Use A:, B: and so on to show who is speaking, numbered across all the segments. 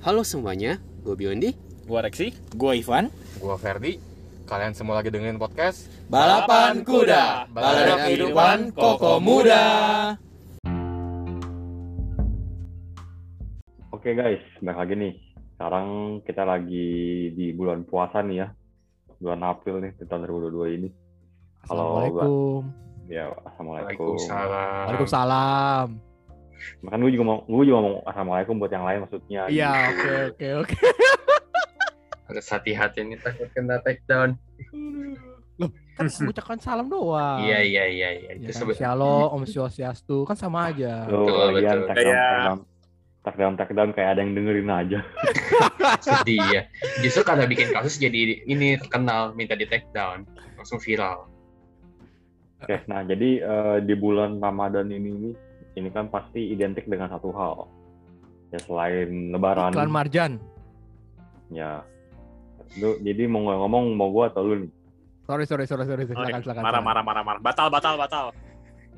A: Halo semuanya, gue Biondi.
B: Gua Rexi.
C: Gue Ivan.
D: Gua Ferdi. Kalian semua lagi dengerin podcast
B: Balapan kuda,
D: balada
B: kehidupan koko muda.
E: Oke guys, balik lagi nih. Sekarang kita lagi di bulan puasa nih ya. Bulan April nih, di tahun 2022 ini. Halo,
F: Assalamualaikum.
E: Ya, Assalamualaikum.
D: Waalaikumsalam.
F: Waalaikumsalam.
E: Makan gue juga mau, gue juga mau Assalamualaikum buat yang lain maksudnya. Gitu.
F: Iya, oke oke oke.
D: Harus hati-hati nih takut kena takedown.
F: Kan mengucapkan salam doang.
D: Iya iya iya iya.
F: Ya Ah.
D: Itu
F: kan?
D: sebe-
F: Shalom, Om Swastiastu, kan sama aja.
E: Lu
D: Betul,
E: lagian
D: betul.
E: tak
B: Kayak-
E: down, tak down, tak down kayak ada yang dengerin aja.
D: sedih ya. Justru karena bikin kasus jadi ini terkenal minta di takedown langsung viral.
E: Oke, nah jadi eh, di bulan Ramadan ini nih, ini kan pasti identik dengan satu hal. Ya selain Lebaran.
F: Iklan Marjan.
E: Ya. Lu, jadi mau ngomong mau gue atau lu nih?
F: Sorry sorry sorry sorry. Silakan silakan.
B: Marah,
F: silakan.
B: marah, marah, marah. Batal, batal, batal.
D: Nggak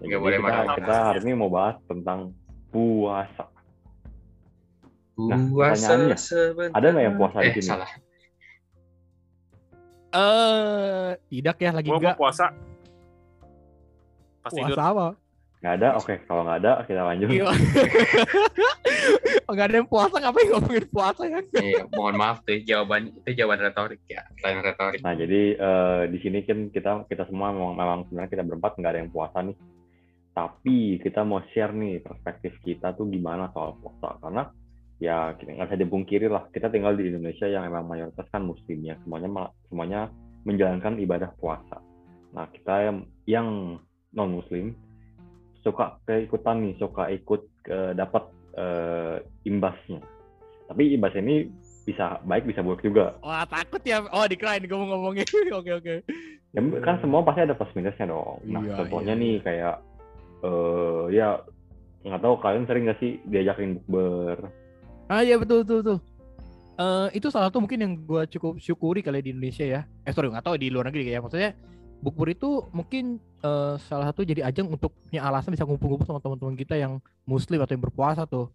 E: gitu. Jadi
D: boleh
E: kita,
D: marah-marah.
E: kita hari ini mau bahas tentang puasa. Nah, pertanyaannya,
D: sebentar.
E: Ada nggak yang puasa di
D: Eh
E: sini?
D: salah.
F: Eh, tidak ya lagi
B: Gua mau
F: enggak.
B: puasa. Pas tidur.
F: Puasa apa?
E: Nggak ada? Oke, kalau nggak ada kita lanjut.
F: Iya. Enggak Oh, ada yang puasa ngapain ngomongin puasa ya?
D: Iya, mohon maaf tuh jawaban itu jawaban retorik ya. Pertanyaan retorik.
E: Nah, jadi eh, di sini kan kita kita semua memang, memang sebenarnya kita berempat nggak ada yang puasa nih. Tapi kita mau share nih perspektif kita tuh gimana soal puasa karena ya kita nggak bisa dipungkiri lah kita tinggal di Indonesia yang memang mayoritas kan muslim ya semuanya ma- semuanya menjalankan ibadah puasa. Nah kita yang, yang non muslim suka keikutan nih suka ikut eh, dapat eh, imbasnya. Tapi imbas ini bisa baik bisa buruk juga.
F: Wah, takut ya. Oh, dikirain gue mau ngomongin. Oke oke.
E: Ya, kan semua pasti ada plus minusnya dong. Nah,
F: Iya,
E: contohnya
F: iya,
E: nih
F: iya.
E: kayak eh ya nggak tahu kalian sering nggak sih diajakin bukber?
F: Ah iya betul betul betul. Eh, itu salah satu mungkin yang gue cukup syukuri kali di Indonesia ya. Eh sorry nggak tahu di luar negeri ya. Maksudnya bukber itu mungkin eh, salah satu jadi ajang untuk punya alasan bisa ngumpul-ngumpul sama teman-teman kita yang muslim atau yang berpuasa tuh.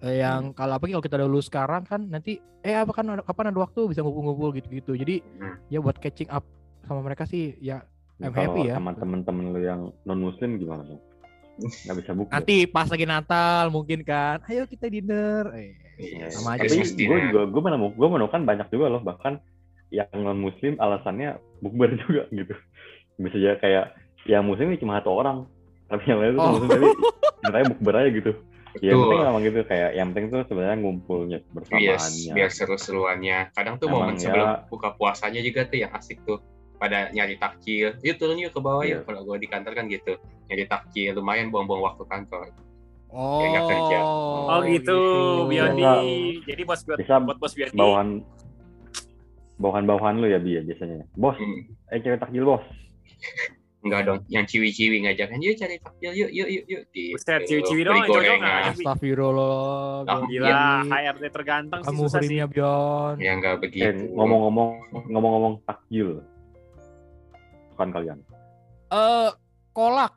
F: Eh, yang kalau apa kalau kita udah lulus sekarang kan nanti eh apa kan ada- kapan ada waktu bisa ngumpul-ngumpul gitu-gitu. Jadi
D: Hmm.
F: ya buat catching up sama mereka sih ya I'm
E: Kalau
F: happy ya.
E: sama temen-temen lu yang non muslim gimana tuh? Nggak bisa bukber.
F: nanti pas lagi Natal mungkin kan. Ayo kita dinner. Eh,
D: Iya,
F: Sama aja.
E: Tapi
D: Christmas
E: gue
D: dinner.
E: juga gue menemukan gue menemukan banyak juga loh bahkan yang non muslim alasannya bukber juga gitu. Bisa aja kayak yang muslim ini cuma satu orang, tapi yang lain tuh
F: Oh.
E: muslim tapi katanya bukber aja gitu. Ya yang
D: Betul.
E: penting emang gitu kayak yang penting tuh sebenarnya ngumpulnya
D: Yes,
E: bersamaannya.
D: biar seru-seruannya. Kadang tuh
E: Emang
D: momen
E: ya.
D: sebelum buka puasanya juga tuh yang asik tuh. Pada nyari takjil, yuk turun yuk ke bawah
E: Iya.
D: yuk. Kalau gue di kantor kan gitu, nyari takjil lumayan buang-buang waktu kantor.
F: Oh,
D: nggak kerja.
B: Oh gitu, Biondi.
E: Iya.
B: Jadi bos buat
E: Bisa
B: buat bos Biondi.
E: bawahan bawahan-bawahan lu ya Bi ya, biasanya bos
D: Hmm,
E: eh cewek takjil bos
D: enggak dong, yang ciwi-ciwi ngajakin, yuk cari takjil yuk yuk yuk yuk. Gitu.
B: Buset, ciwi-ciwi doang
D: Beli
B: yang cocok
D: gorengan.
B: nggak?
F: Astagfirullah.
D: Lah, iya.
F: Biondi.
B: Gila, HRD terganteng sih
F: Iya, Kamu
B: susah sih.
F: hurimnya Bion.
D: Ya enggak begitu.
B: Iya,
E: eh ngomong-ngomong ngomong-ngomong takjil bukan kalian
F: Eh, kolak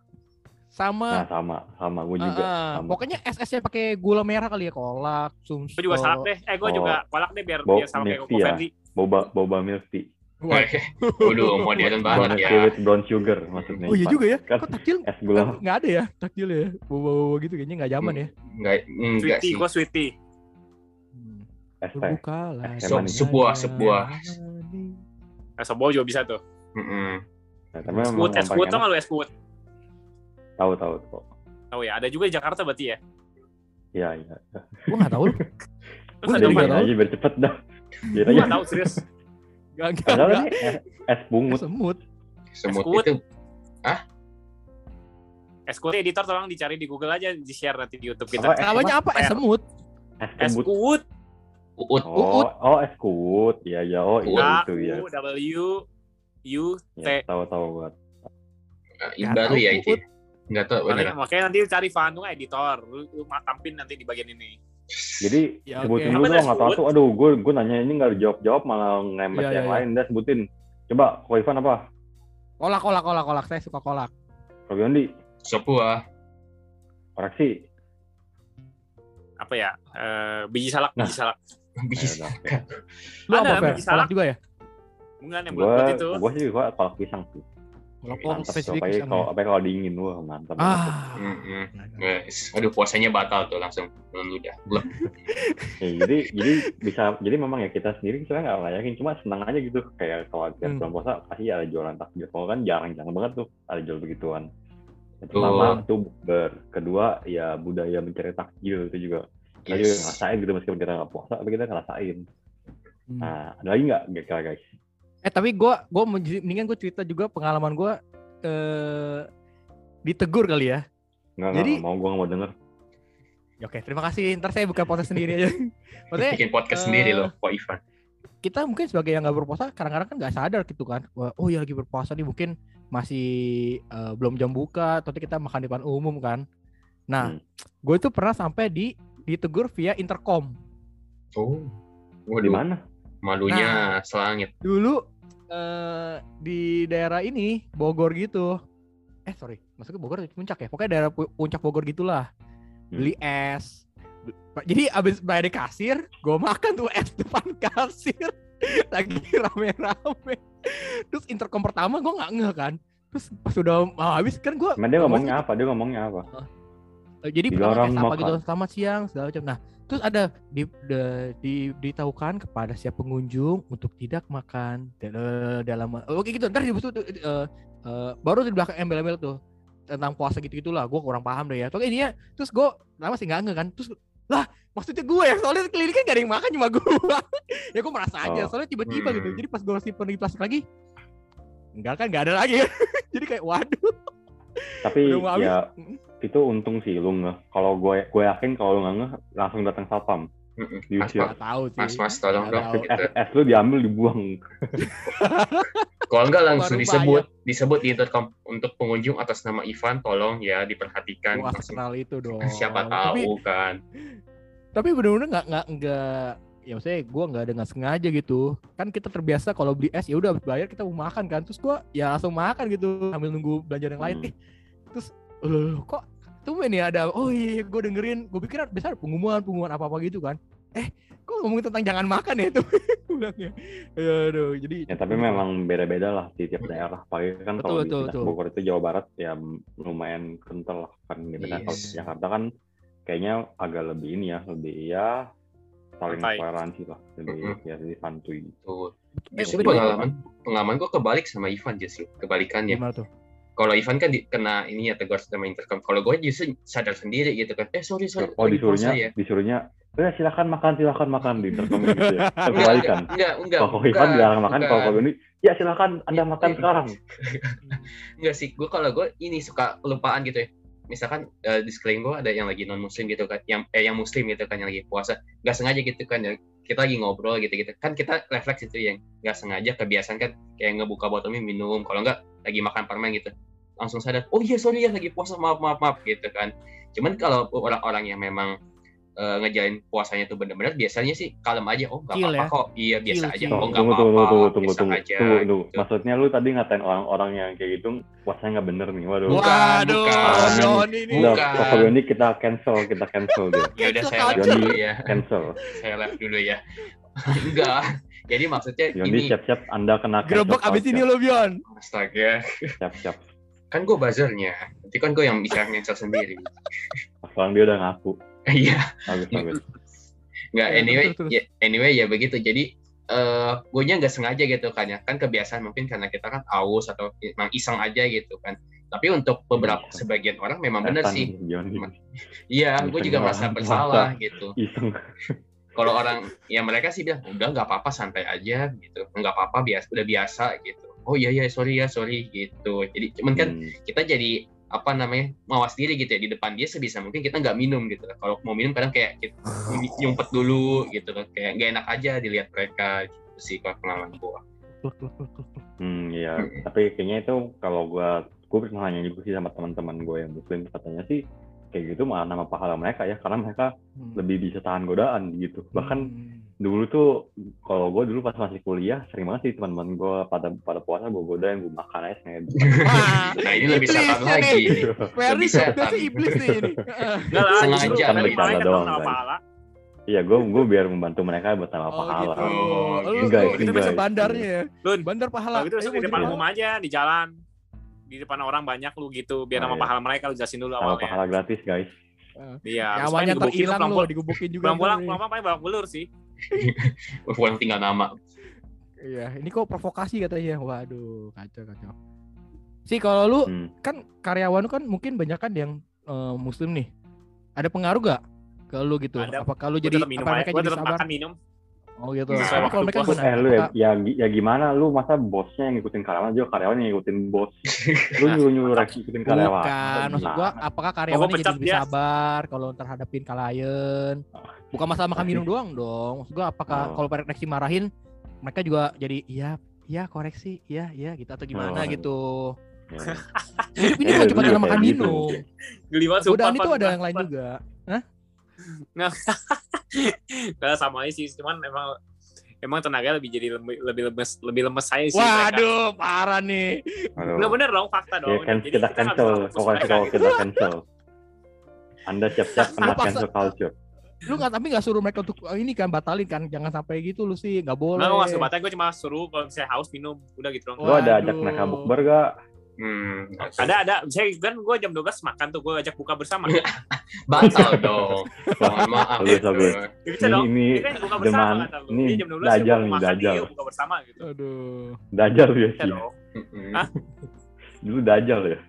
E: nah
F: sama
E: sama sama gue
F: eh,
E: juga
F: eh,
E: sama.
F: pokoknya SS-nya pakai gula merah kali ya kolak, sumsel.
B: Gue juga salak deh. Eh, gue
E: Oh.
B: juga kolak deh biar
E: Bo-
B: biar sama kayak
E: milk
B: Koko
E: tea ya.
B: Fendi.
E: boba boba milk tea
D: Eh, Waduh, modern banget
E: brown
D: ya.
E: tea with brown sugar
F: Oh
E: maksudnya
F: iya juga ya.
E: kan
F: Kok takjil
E: es
F: eh,
E: gula Hmm.
F: nggak ada ya takjil ya bawa-bawa gitu kayaknya nggak zaman ya
D: Enggak enggak
B: Sweetie,
D: sih.
B: gue sweetie.
F: Hmm.
E: es teh
F: Berbukalah
E: So-
F: dengan
D: sebuah-
F: yang
D: sebuah.
F: manis.
B: Eh, sobo juga bisa tuh.
D: Mm-mm.
E: Nah, tapi memang
B: Squid, es
E: yang
B: squid
E: paling
B: tau
E: enak-
B: nggak lu es squid?
E: tahu tahu tahu
B: Tahu ya, ada juga di Jakarta berarti ya.
E: iya iya
F: gua nggak tahu lu
B: Terus
F: Gua
B: ada apa?
F: juga
E: jadi biar
F: tahu.
E: aja biar cepet dah biar
B: Gue
E: aja
B: nggak tahu serius.
F: nggak nggak
E: padahal
F: nggak.
E: ini es, es bungut
F: semut
D: Semut
B: Squid.
D: itu
B: Es kut editor tolong dicari di Google aja di share nanti di YouTube
E: Apa,
B: kita.
E: es
F: namanya apa eh, es
B: Per.
F: semut
E: es
B: Es
E: kebut
B: kut,
D: uut
E: Oh, oh es kuut. Iya, iya. Oh, iya
B: A
E: itu ya.
B: U W U T.
E: Ya, tahu-tahu buat.
D: Ih, baru ya itu. ya. Enggak tahu
B: Makanya,
D: beneran.
B: makanya nanti cari Vanung editor, lu, lu ma- tampil nanti di bagian ini.
E: Jadi
F: Ya,
E: sebutin
F: oke.
E: dulu
B: Apa
E: dong
B: es
E: nggak tahu
B: kuut?
E: tuh. Aduh, gue gue nanya ini nggak dijawab-jawab malah ngemes
F: Iya,
E: yang
F: iya,
E: lain. Dah sebutin. Coba, kau Ivan apa?
F: kolak kolak kolak kolak saya suka kolak
E: Kau Yondi,
D: Sepuah.
E: koreksi.
B: Apa ya? Eh, biji salak,
E: Nah.
B: biji salak.
E: Ya,
D: Bisa.
E: udah, oke.
D: kan.
F: Lu
B: Ada,
F: apa, Fer?
B: biji salak.
F: Salak juga ya?
B: Bukan yang
E: Gue
B: bulat itu.
E: gue sih gue kolak pisang sih.
F: Kalau
E: Mantap. tuh.
F: spesifik
E: Apalagi
F: sama
E: kalau Hmm.
F: ya?
E: apalagi kalau dingin wah mantap. banget.
F: Ah.
D: Mm-mm. Yes. Aduh puasanya batal tuh langsung lalu udah. Blep.
E: Ya, jadi jadi bisa jadi memang ya kita sendiri sebenarnya nggak layakin cuma senang aja gitu kayak kalau
F: Hmm.
E: tiap bulan puasa pasti ada jualan takjil. Kalau kan jarang-jarang banget tuh ada jual begituan. Yang Pertama tuh bukber, kedua ya budaya mencari takjil itu juga. Kita juga
D: Yes.
E: ngerasain gitu meskipun kita nggak puasa tapi kita ngerasain.
F: Hmm.
E: Nah ada lagi nggak nggak kira guys?
F: Eh tapi gua gua mau jadi- mendingan gua cerita juga pengalaman gua eh ditegur kali ya.
E: Nggak
F: Jadi-
E: nggak mau gue nggak mau denger.
F: Ya, Oke, terima kasih. Ntar saya buka podcast sendiri aja. Maksudnya
D: Bikin
F: eh,
D: podcast sendiri loh, Pak Ivan.
F: kita mungkin sebagai yang nggak berpuasa kadang-kadang kan nggak sadar gitu kan Wah, oh ya lagi berpuasa nih mungkin masih eh, belum jam buka atau kita makan di depan umum kan nah
E: Hmm.
F: gue itu pernah sampai di ditegur via intercom
D: Oh.
E: Di
D: Waduh,
E: mana?
B: Nah.
D: malunya selangit.
F: dulu eh, di daerah ini Bogor gitu eh sorry maksudnya Bogor atau puncak ya pokoknya daerah pu- puncak Bogor gitulah beli es jadi abis bayar di kasir gue makan tuh es depan kasir lagi rame-rame terus intercom pertama gue nggak ngeh kan terus pas udah mau habis kan gue
E: Emang dia ngomongnya apa? Dia ngomongnya apa?
F: Eh, jadi
E: Di
F: pertama
E: lorong
F: kayak sapa
E: makan.
F: gitu selamat siang segala macam nah terus ada di, de- di- ditahukan kepada siap pengunjung untuk tidak makan dal- dalam oke gitu ntar di situ, eh, eh, baru di belakang embel-embel tuh tentang puasa gitu gitulah gue kurang paham deh ya Pokoknya intinya terus gue lama sih nggak nge kan terus lah maksudnya gue ya soalnya keliling kan gak ada yang makan cuma gue ya gue merasa aja
E: Oh.
F: soalnya tiba-tiba gitu
D: Hmm.
F: jadi pas gue simpen di plastik lagi enggak kan nggak ada lagi jadi kayak waduh
E: Tapi
F: udah mau habis
E: ya itu untung sih lu nggak. Kalau gue gue yakin kalau lu nggak ngeh, langsung datang satpam.
D: Mm-mm. Mas,
E: Diusir.
D: Mas,
F: nggak tahu sih
D: mas, mas, tolong
F: Nggak
D: dong.
F: tahu.
D: Gitu.
E: Es, es lu diambil dibuang.
D: Kalau enggak langsung
F: Baru
D: disebut, disebut di intercom untuk pengunjung atas nama Ivan, tolong ya diperhatikan.
F: Wah,
D: Langsung,
F: kenal itu dong.
D: siapa
F: Tapi,
D: tahu kan.
F: tapi bener-bener nggak nggak nggak ya maksudnya gue nggak dengan sengaja gitu kan kita terbiasa kalau beli es ya udah habis bayar kita mau makan kan terus gue ya langsung makan gitu sambil nunggu belanja yang lain
E: Hmm.
F: Eh, terus loh, loh, kok tumben ya ada oh iya gue dengerin gue pikir biasa ada pengumuman pengumuman apa apa gitu kan eh kok ngomongin tentang jangan makan ya itu bilangnya aduh jadi
E: Ya tapi memang beda-beda lah di tiap daerah. Apalagi kan
F: Hmm. Betul,
E: kalau di
F: betul,
E: Puncak
F: betul.
E: Bogor itu Jawa Barat ya lumayan kental lah kan. Biasanya kalau di
D: Yes.
E: Jakarta kan kayaknya agak lebih ini ya, lebih ya saling
B: Santai.
E: toleransi lah, lebih
D: Mm-mm.
E: ya lebih santuy.
D: Tuh.
F: Eh,
D: Justru
F: tapi-
D: pengalaman, pengalaman gue kebalik sama Ivan justru. Kebalikannya.
F: gimana tuh
D: kalau Ivan kan di, kena ini ya tegur sama intercom. Kalau gue justru sadar sendiri gitu kan. Eh sorry sorry.
E: Oh
D: lagi puasa
E: disuruhnya, disuruhnya, eh silakan makan, silakan makan di intercom gitu ya. Kan
D: Enggak,
E: Kebalikan.
D: Enggak enggak.
E: Kalau Ivan
D: Iya. bukan,
E: dilarang makan, kalau
D: bukan.
E: kalau ini ya silakan Anda makan
D: Iya.
E: sekarang.
D: Enggak sih. Gue kalau gue ini suka kelupaan gitu ya. Misalkan eh, di sekeliling gue ada yang lagi non muslim gitu kan, yang eh yang muslim gitu kan yang lagi puasa. Enggak sengaja gitu kan. ya. Kita lagi ngobrol gitu gitu. Kan kita refleks itu yang enggak sengaja kebiasaan kan kayak ngebuka botol minum, minum. Kalau enggak lagi makan permen gitu. Langsung sadar, oh iya sorry ya lagi puasa maaf maaf maaf gitu kan. Cuman kalau orang-orang yang memang eh, ngejalin puasanya tuh bener-bener biasanya sih kalem aja oh nggak
F: Chill
D: apa-apa
F: ya.
D: kok iya biasa
F: Chill,
D: aja
F: chill.
D: oh
E: Tunggu,
D: nggak
E: tunggu,
D: apa-apa
E: tunggu, tunggu, tunggu,
D: biasa
E: tunggu,
D: aja
E: tunggu,
D: gitu.
E: tunggu. Maksudnya lu tadi ngatain orang-orang yang kayak gitu, puasanya nggak bener nih, waduh.
F: waduh
D: bukan.
F: Johnny ini
E: Udah,
D: Bukan.
E: Pak Yoni kita cancel, kita cancel dia.
D: ya udah saya live
E: Culture.
D: dulu ya
E: Cancel.
D: saya live dulu ya enggak jadi maksudnya
E: Yoni
D: ini
E: siap-siap Anda kena cancel
F: gerebek abis ini
E: culture.
F: lo Bion
D: astaga
E: Siap-siap.
D: kan gue buzzernya nanti kan gue yang bisa ngecel sendiri
E: Sekarang dia udah ngaku.
D: iya
E: Bagus, bagus.
D: Nggak,
F: Ya,
D: anyway,
F: terus, terus.
D: ya, anyway ya begitu. Jadi eh gue nya nggak sengaja gitu kan ya. Kan kebiasaan mungkin karena kita kan aus atau emang iseng aja gitu kan. Tapi untuk beberapa
E: Iya.
D: sebagian orang memang benar
E: Setan
D: sih.
E: Yoni.
D: Iya, gue
E: Iseng
D: juga
E: lah,
D: merasa
E: puasa.
D: bersalah gitu.
E: Iseng.
D: Kalau orang ya mereka sih bilang udah nggak apa-apa santai aja gitu. Nggak apa-apa biasa udah biasa gitu. Oh iya iya sorry ya sorry gitu. Jadi cuman kan
E: Hmm.
D: kita jadi apa namanya mawas diri gitu ya di depan dia sebisa mungkin kita nggak minum gitu kan. kalau mau minum kadang kayak kita
B: Ah.
D: nyumpet dulu gitu kan kayak nggak enak aja dilihat mereka gitu sih kalau pengalaman gua
E: Hmm, iya. Tapi kayaknya itu kalau gua gua pernah nanya juga sih sama teman-teman gue yang muslim katanya sih kayak gitu malah nama pahala mereka ya karena mereka lebih bisa tahan godaan gitu. Bahkan
F: Hmm.
E: dulu tuh kalau gue dulu pas masih kuliah sering banget sih teman-teman gue pada pada puasa gue godain gue makan gitu. aja sengaja
F: Ah,
D: nah ini lebih
F: Iblisnya
D: setan lagi
F: nih. Very
D: Lebih setan.
F: setan. iblis nih ini.
B: Enggak lah,
D: Sengaja,
B: justru
D: bercanda
B: paling kan
E: doang,
B: nama
E: guys.
B: pahala.
E: Iya, gue gue biar membantu mereka buat tambah pahala.
F: gitu. Lu,
E: gitu.
D: Oh,
F: lu- itu
E: Enggak,
F: bisa
E: enggak.
F: bandarnya ya.
B: Lun,
F: Bandar pahala.
B: kalau gitu
F: Ayo,
B: di
F: mau
B: depan
F: jadi
B: umum aja di jalan. Di depan orang banyak lu gitu biar
E: Oh,
B: nama
E: iya.
B: pahala mereka lu jelasin dulu
F: ya.
E: Tambah
B: awalnya.
E: pahala gratis, guys.
B: Iya, terus
F: Nyawanya
B: paling digebukin,
F: terhilang
B: pulang-
F: lo digebukin juga.
B: Pulang-pulang
F: kan,
B: pulang-pulang paling balak belur sih.
D: pulang tinggal nama
F: iya. Iya, ini kok provokasi katanya. Waduh, kacau kacau. Sih kalau lu
E: Hmm.
F: kan karyawan lu kan mungkin banyak kan yang eh, muslim nih. Ada pengaruh gak ke lu gitu?
B: Ada.
F: Apakah lu
B: Gua
F: jadi
B: tetap minum
F: apa
B: aja,
F: mereka
B: gua
F: jadi
B: tetap
F: sabar?
B: makan minum.
F: Oh gitu.
D: Sesuai
F: Tapi kalau
B: waktu
F: mereka
B: puasa.
F: gimana?
E: Eh lu ya,
F: Apakah-
E: ya, gi- ya gimana? Lu masa bosnya yang ngikutin karyawan juga karyawan yang ngikutin bos. Lu
B: Nah,
E: nyuruh nyuruh ngikutin karyawan.
F: Bukan, maksud gua
E: Nah,
F: apakah karyawannya jadi
B: pecat
F: lebih
B: dia.
F: sabar kalau terhadapin klien? Bukan masalah makan minum doang dong. Maksud gua apakah
E: Oh.
F: kalau Pak Reksi marahin mereka juga jadi iya iya koreksi, iya iya gitu atau gimana
E: Oh.
F: gitu.
E: ya.
F: Hidup ini
E: Eh,
F: bukan
E: lu
F: cuma
E: juga
F: karena makan
E: kayak gitu.
F: minum.
B: Geli banget sumpah.
F: Godaan itu
B: Pan.
F: ada yang lain juga.
B: Nah, sama aja sih, cuman emang emang tenaga lebih jadi lebih, lebih lemes lebih lemes saya sih. mereka.
F: Waduh, parah nih.
E: Aduh.
B: Bener bener dong fakta
E: Ya,
B: dong.
E: kan
B: Jadi
E: kita
B: nggak bisa
E: cancel,
B: fokus
E: pokoknya
B: mereka
E: kalau
B: gitu.
E: kita cancel. Anda siap-siap kena
F: Terpaksa.
E: cancel culture.
F: Lu nggak tapi nggak suruh mereka untuk "Oh, ini kan batalin kan jangan sampai gitu lu sih nggak boleh.
B: Enggak, gue gak suruh batalin, gue cuma suruh kalau misalnya haus minum, udah gitu dong.
E: Lu ada ajak
F: Waduh.
E: mereka bukber gak?
D: hmm,
B: Ada, ada. Misalnya kan gue jam 12 makan tuh, gue ajak buka bersama.
E: Iya.
B: Ya
D: batal dong mohon maaf gitu.
E: Bagus, bagus.
B: bisa
E: Ini,
B: dong.
E: ini
B: Ini kan buka
E: deman,
B: bersama kata lu.
E: ini
B: Iya, jam 12
E: dajal
B: gua
E: nih,
B: mau makan,
E: dajal.
B: iya, buka bersama gitu.
F: Aduh.
E: dajal ya
B: Bisa
E: sih.
B: dong.
D: Mm-mm.
B: Hah?
E: Dulu dajal ya.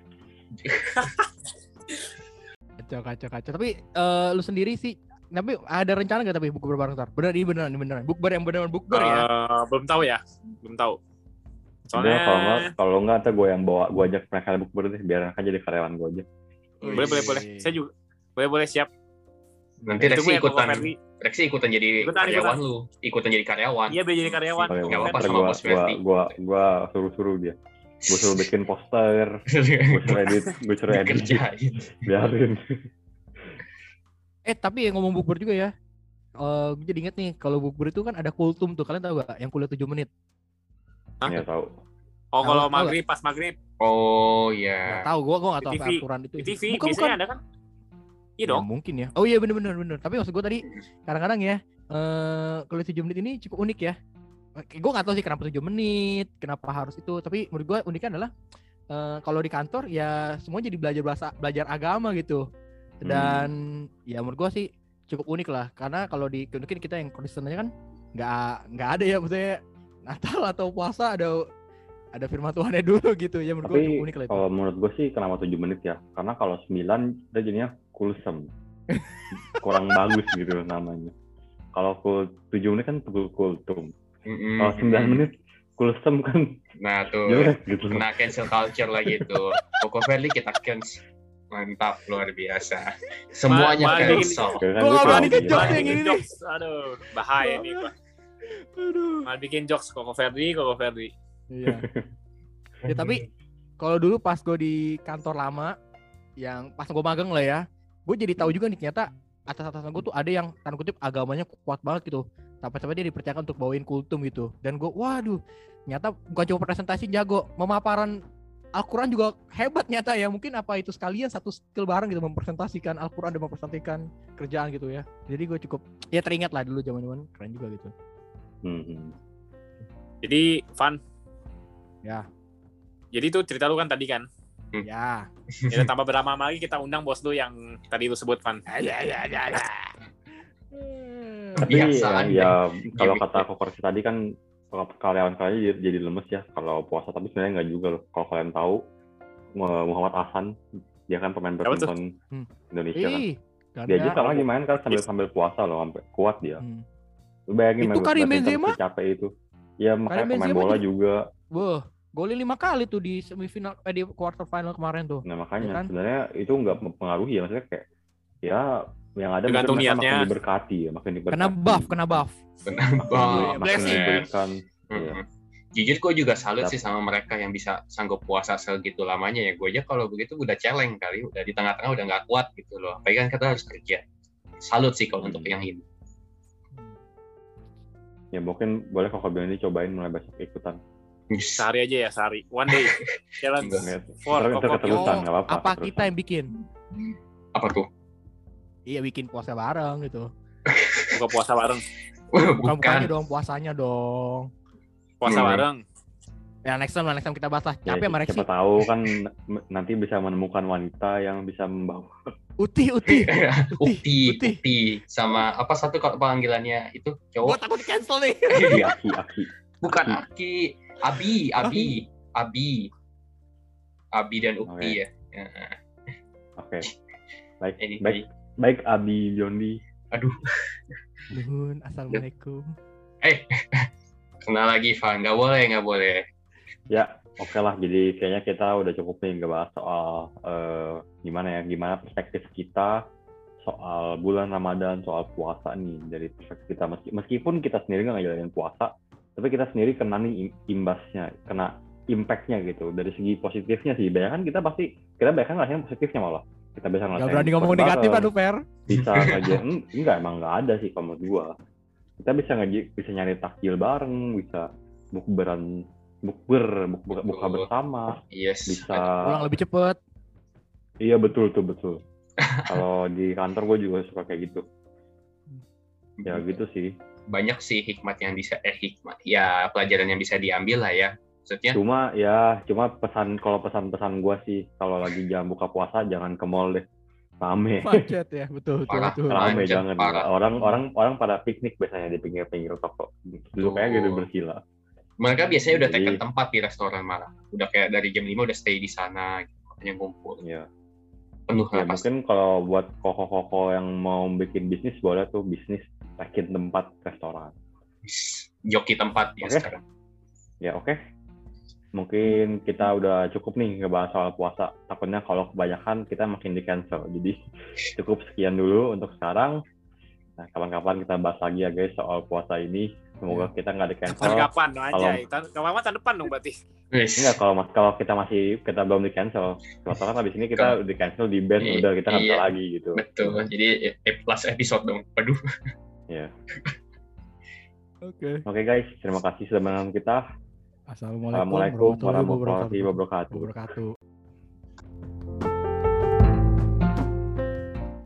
F: Kacau, kacau, kacau. Tapi eh, lu sendiri sih, tapi ada rencana gak tapi bukber bareng ntar? Bener, ini beneran, ini beneran. Bukber yang beneran bukber ya.
B: Eh, belum tahu ya, belum tahu.
E: Soalnya... Kalau nggak,
B: Soalnya
E: kalau nggak, ntar gue yang bawa, gue ajak mereka bukber deh, biar mereka jadi karyawan gue aja.
B: boleh boleh boleh. Saya juga boleh boleh siap.
D: nanti
B: Itu
D: Reksi
B: gue yang bawa
D: ikutan
B: Ferdi.
D: Reksi ikutan jadi
B: Ikutan,
D: karyawan lu ikutan jadi karyawan
B: Iya biar jadi karyawan.
E: Oke,
D: Nggak apa-apa
E: ntar
D: sama
E: gua,
D: Bos
E: gua,
D: Ferdi.
E: gua, gua suruh-suruh dia. Gue suruh bikin poster, gue suruh edit, gue suruh edit.
D: dikerjain
E: Biarin.
F: Eh, tapi yang ngomong bukber juga ya. Eh, gue jadi inget nih, kalau bukber itu kan ada kultum tuh. Kalian tahu gak? Yang kuliah 7 menit.
B: Hah?
E: Ya tahu.
B: Oh kalau
F: Tahu, tahu
B: maghrib pas maghrib
D: oh
F: Gak
D: iya
F: tahu, gue gua
B: Nah, Di
F: gak tahu apa
B: TV.
F: aturan itu.
B: di TV
F: bukan, bukan.
B: biasanya ada kan? Iya
F: Ya,
B: dong.
F: mungkin ya. Oh iya bener bener bener. Tapi maksud gue tadi kadang-kadang ya eh kuliah 7 menit ini cukup unik ya. Gue gak tahu sih kenapa 7 menit, kenapa harus itu. Tapi menurut gue uniknya adalah eh kalau di kantor ya semua jadi belajar bahasa, belajar agama gitu. Dan ya menurut gue sih cukup unik lah. Karena kalau di mungkin kita yang Kristen aja kan nggak nggak ada ya maksudnya Natal atau puasa ada ada firman Tuhannya dulu gitu ya menurut gue
E: Tapi
F: cukup unik lah itu.
E: kalau menurut gue sih kenapa 7 menit ya? Karena kalau 9 dia jadinya kulsem. Kurang bagus gitu namanya. Kalau kul 7 menit kan kul kultum.
D: Mm-mm.
B: Oh,
F: Hmm.
E: Kalau 9 menit kulsem kan
D: Hmm. nah tuh
E: jelek gitu.
D: kena cancel culture lagi tuh Koko Verly kita cancel mantap luar biasa
B: Ma-
D: semuanya
B: balikin.
D: cancel
E: Kan
F: Gua
E: gua
F: nggak berani ke
E: tahu, gila.
F: jokes
B: Malah
F: yang ini
B: bikin
F: nih.
B: jokes. Aduh, bahaya nih gua.
F: Aduh.
B: Malah bikin jokes Koko Ferdi, Koko Ferdi.
F: Iya. ya tapi kalau dulu pas gue di kantor lama yang pas gue magang lah ya, gue jadi tahu juga nih ternyata atas-atasan gue tuh ada yang tanda kutip agamanya kuat banget gitu. Sampai-sampai dia dipercayakan untuk bawain kultum gitu. Dan gue waduh, ternyata bukan cuma presentasi jago, memaparan Al-Quran juga hebat nyata ya. Mungkin apa itu sekalian satu skill bareng gitu mempresentasikan Al-Quran dan mempresentasikan kerjaan gitu ya. Jadi gue cukup ya teringat lah dulu zaman-zaman keren juga gitu.
E: Hmm.
B: Jadi, Van.
F: Ya.
B: Jadi itu cerita lu kan tadi kan.
F: Ya.
B: Ya, tambah berlama lagi kita undang bos lu yang tadi lu sebut, Van.
F: Ya ya ya ya. Hmm.
E: Tapi
D: Kebiasaan
E: ya, ya kalau
D: Gimik.
E: kata kokorsi tadi kan karyawan karyawan jadi, jadi lemes ya kalau puasa tapi sebenarnya nggak juga loh. Kalau kalian tahu Muhammad Hasan dia kan pemain
B: Siapa tuh?
E: badminton
F: Hmm.
E: Indonesia kan.
F: Ih,
E: Dia aja
F: ganda.
E: sama lagi main kan sambil sambil puasa loh sampai kuat dia.
F: Hmm.
E: Lu bayangin
F: Itu
E: main
F: Karim
E: badminton
F: Benzema?
E: secapek itu. Iya makanya
F: Karim
E: pemain
F: Benzema
E: bola
F: juga.
E: juga.
F: Wah, golin lima kali tuh di semifinal eh, di quarter final kemarin tuh.
E: Nah makanya
F: Ya kan?
E: sebenarnya itu nggak mempengaruhi ya maksudnya kayak ya yang ada mungkin
B: Tergantung
E: mereka
B: niatnya.
E: makin diberkati ya makin diberkati.
F: Kena buff, kena buff.
D: Wah,
F: Blessing.
E: diberikan. Iya.
D: Mm-mm. Jujur gue juga salut
E: Tapi-
D: sih sama mereka yang bisa sanggup puasa segitu lamanya ya. Gue aja kalau begitu udah celeng kali, udah di tengah-tengah udah nggak kuat gitu loh. Apalagi kan kita harus kerja. Salut sih kalau untuk
E: Hmm.
D: yang ini.
E: Ya mungkin boleh kalau bilang ini cobain mulai besok ikutan.
B: Sehari aja ya, sehari. One day. Challenge.
E: Nggak-
B: For
E: ntar- ntar
B: Koko
E: keterusan nggak apa-apa.
F: apa
E: keterusan.
F: kita yang bikin?
D: Apa tuh?
F: Iya, bikin puasa bareng gitu.
B: buka puasa bareng
F: Bukan
D: Bukan.
F: bukannya dong, puasanya dong.
B: puasa
D: Hmm.
B: bareng
F: Ya next time, lah, next time kita bahas lah. Capek sama Rexi.
E: Iya, siapa tahu kan n- nanti bisa menemukan wanita yang bisa membawa
F: Uti, Iya, uti.
D: Ukti,
F: Ukti.
D: Ukti sama apa satu kalau panggilannya itu
F: Gue
D: cowok
F: takut di cancel nih.
E: aki aki aki
D: bukan
E: Hmm.
D: Aki, Abi, Abi, Abi. Abi dan Ukti ya. Ya,
E: oke baik
D: Ini
E: baik baik Abi Yondi
D: aduh,
F: Nuhun, assalamualaikum.
D: kena lagi Van, nggak boleh, nggak boleh.
E: ya oke lah jadi kayaknya kita udah cukup nih ngebahas soal eh, gimana ya gimana perspektif kita soal bulan Ramadan soal puasa nih dari perspektif kita Meski- meskipun kita sendiri nggak ngejalanin puasa tapi kita sendiri kena nih im- imbasnya kena impactnya gitu dari segi positifnya sih banyak kan kita pasti kita banyak kan ngerasain positifnya malah kita bisa ngerasain
F: Gak berani ngomong
E: bareng.
F: negatif aduh Per.
E: bisa ngajak enggak emang nggak ada sih kalau menurut gua kita bisa ngaji bisa nyari takjil bareng bisa bukberan bukber bukber buka
D: Betul.
E: bersama
D: Yes.
E: Ah, bisa
F: Pulang lebih cepet.
E: iya betul tuh betul kalau di kantor gua juga suka kayak gitu ya
D: Iya.
E: gitu sih
D: Banyak sih hikmat yang bisa eh hikmat. Ya, pelajaran yang bisa diambil lah ya. Maksudnya
E: cuma ya cuma pesan kalau pesan-pesan gua sih kalau lagi jam buka puasa jangan ke mall deh rame
F: Macet ya, betul, betul,
D: Parah,
F: betul.
D: parah.
E: rame
D: Macet,
E: jangan
D: parah.
E: orang orang orang pada piknik biasanya di pinggir-pinggir toko dulu kayak gitu bersila
D: mereka biasanya udah
E: Jadi-
D: tekan tempat di restoran malah. Udah kayak dari jam 5 udah stay di sana gitu. Makanya ngumpul.
E: ya
D: Penuh
E: Ya,
D: lah pasti.
E: mungkin kalau buat koko-koko yang mau bikin bisnis boleh tuh bisnis bikin tempat restoran.
D: Joki tempat ya
E: Oke.
D: sekarang.
E: Ya oke. Mungkin kita udah cukup nih ngebahas soal puasa. Takutnya kalau kebanyakan kita makin di cancel. Jadi cukup sekian dulu untuk sekarang. Nah, kapan-kapan kita bahas lagi ya guys soal puasa ini. Semoga kita nggak di
D: Kan
E: cancel.
B: kapan-kapan aja
E: kalau-
B: ya. Tahun- kapan-kapan tahun depan dong berarti
D: Wis.
E: Enggak kalau mas kalau kita masih kita belum di cancel. Kalau kan habis ini kita di cancel di band
D: Iya,
E: udah kita nggak bisa
D: iya.
E: lagi gitu.
D: Betul. Jadi eh, last episode dong. Aduh.
E: Ya.
F: Oke.
E: Oke guys, terima kasih sudah menonton kita.
F: Assalamualaikum
E: Assalamualaikum warahmatullahi wabarakatuh.
F: wabarakatuh.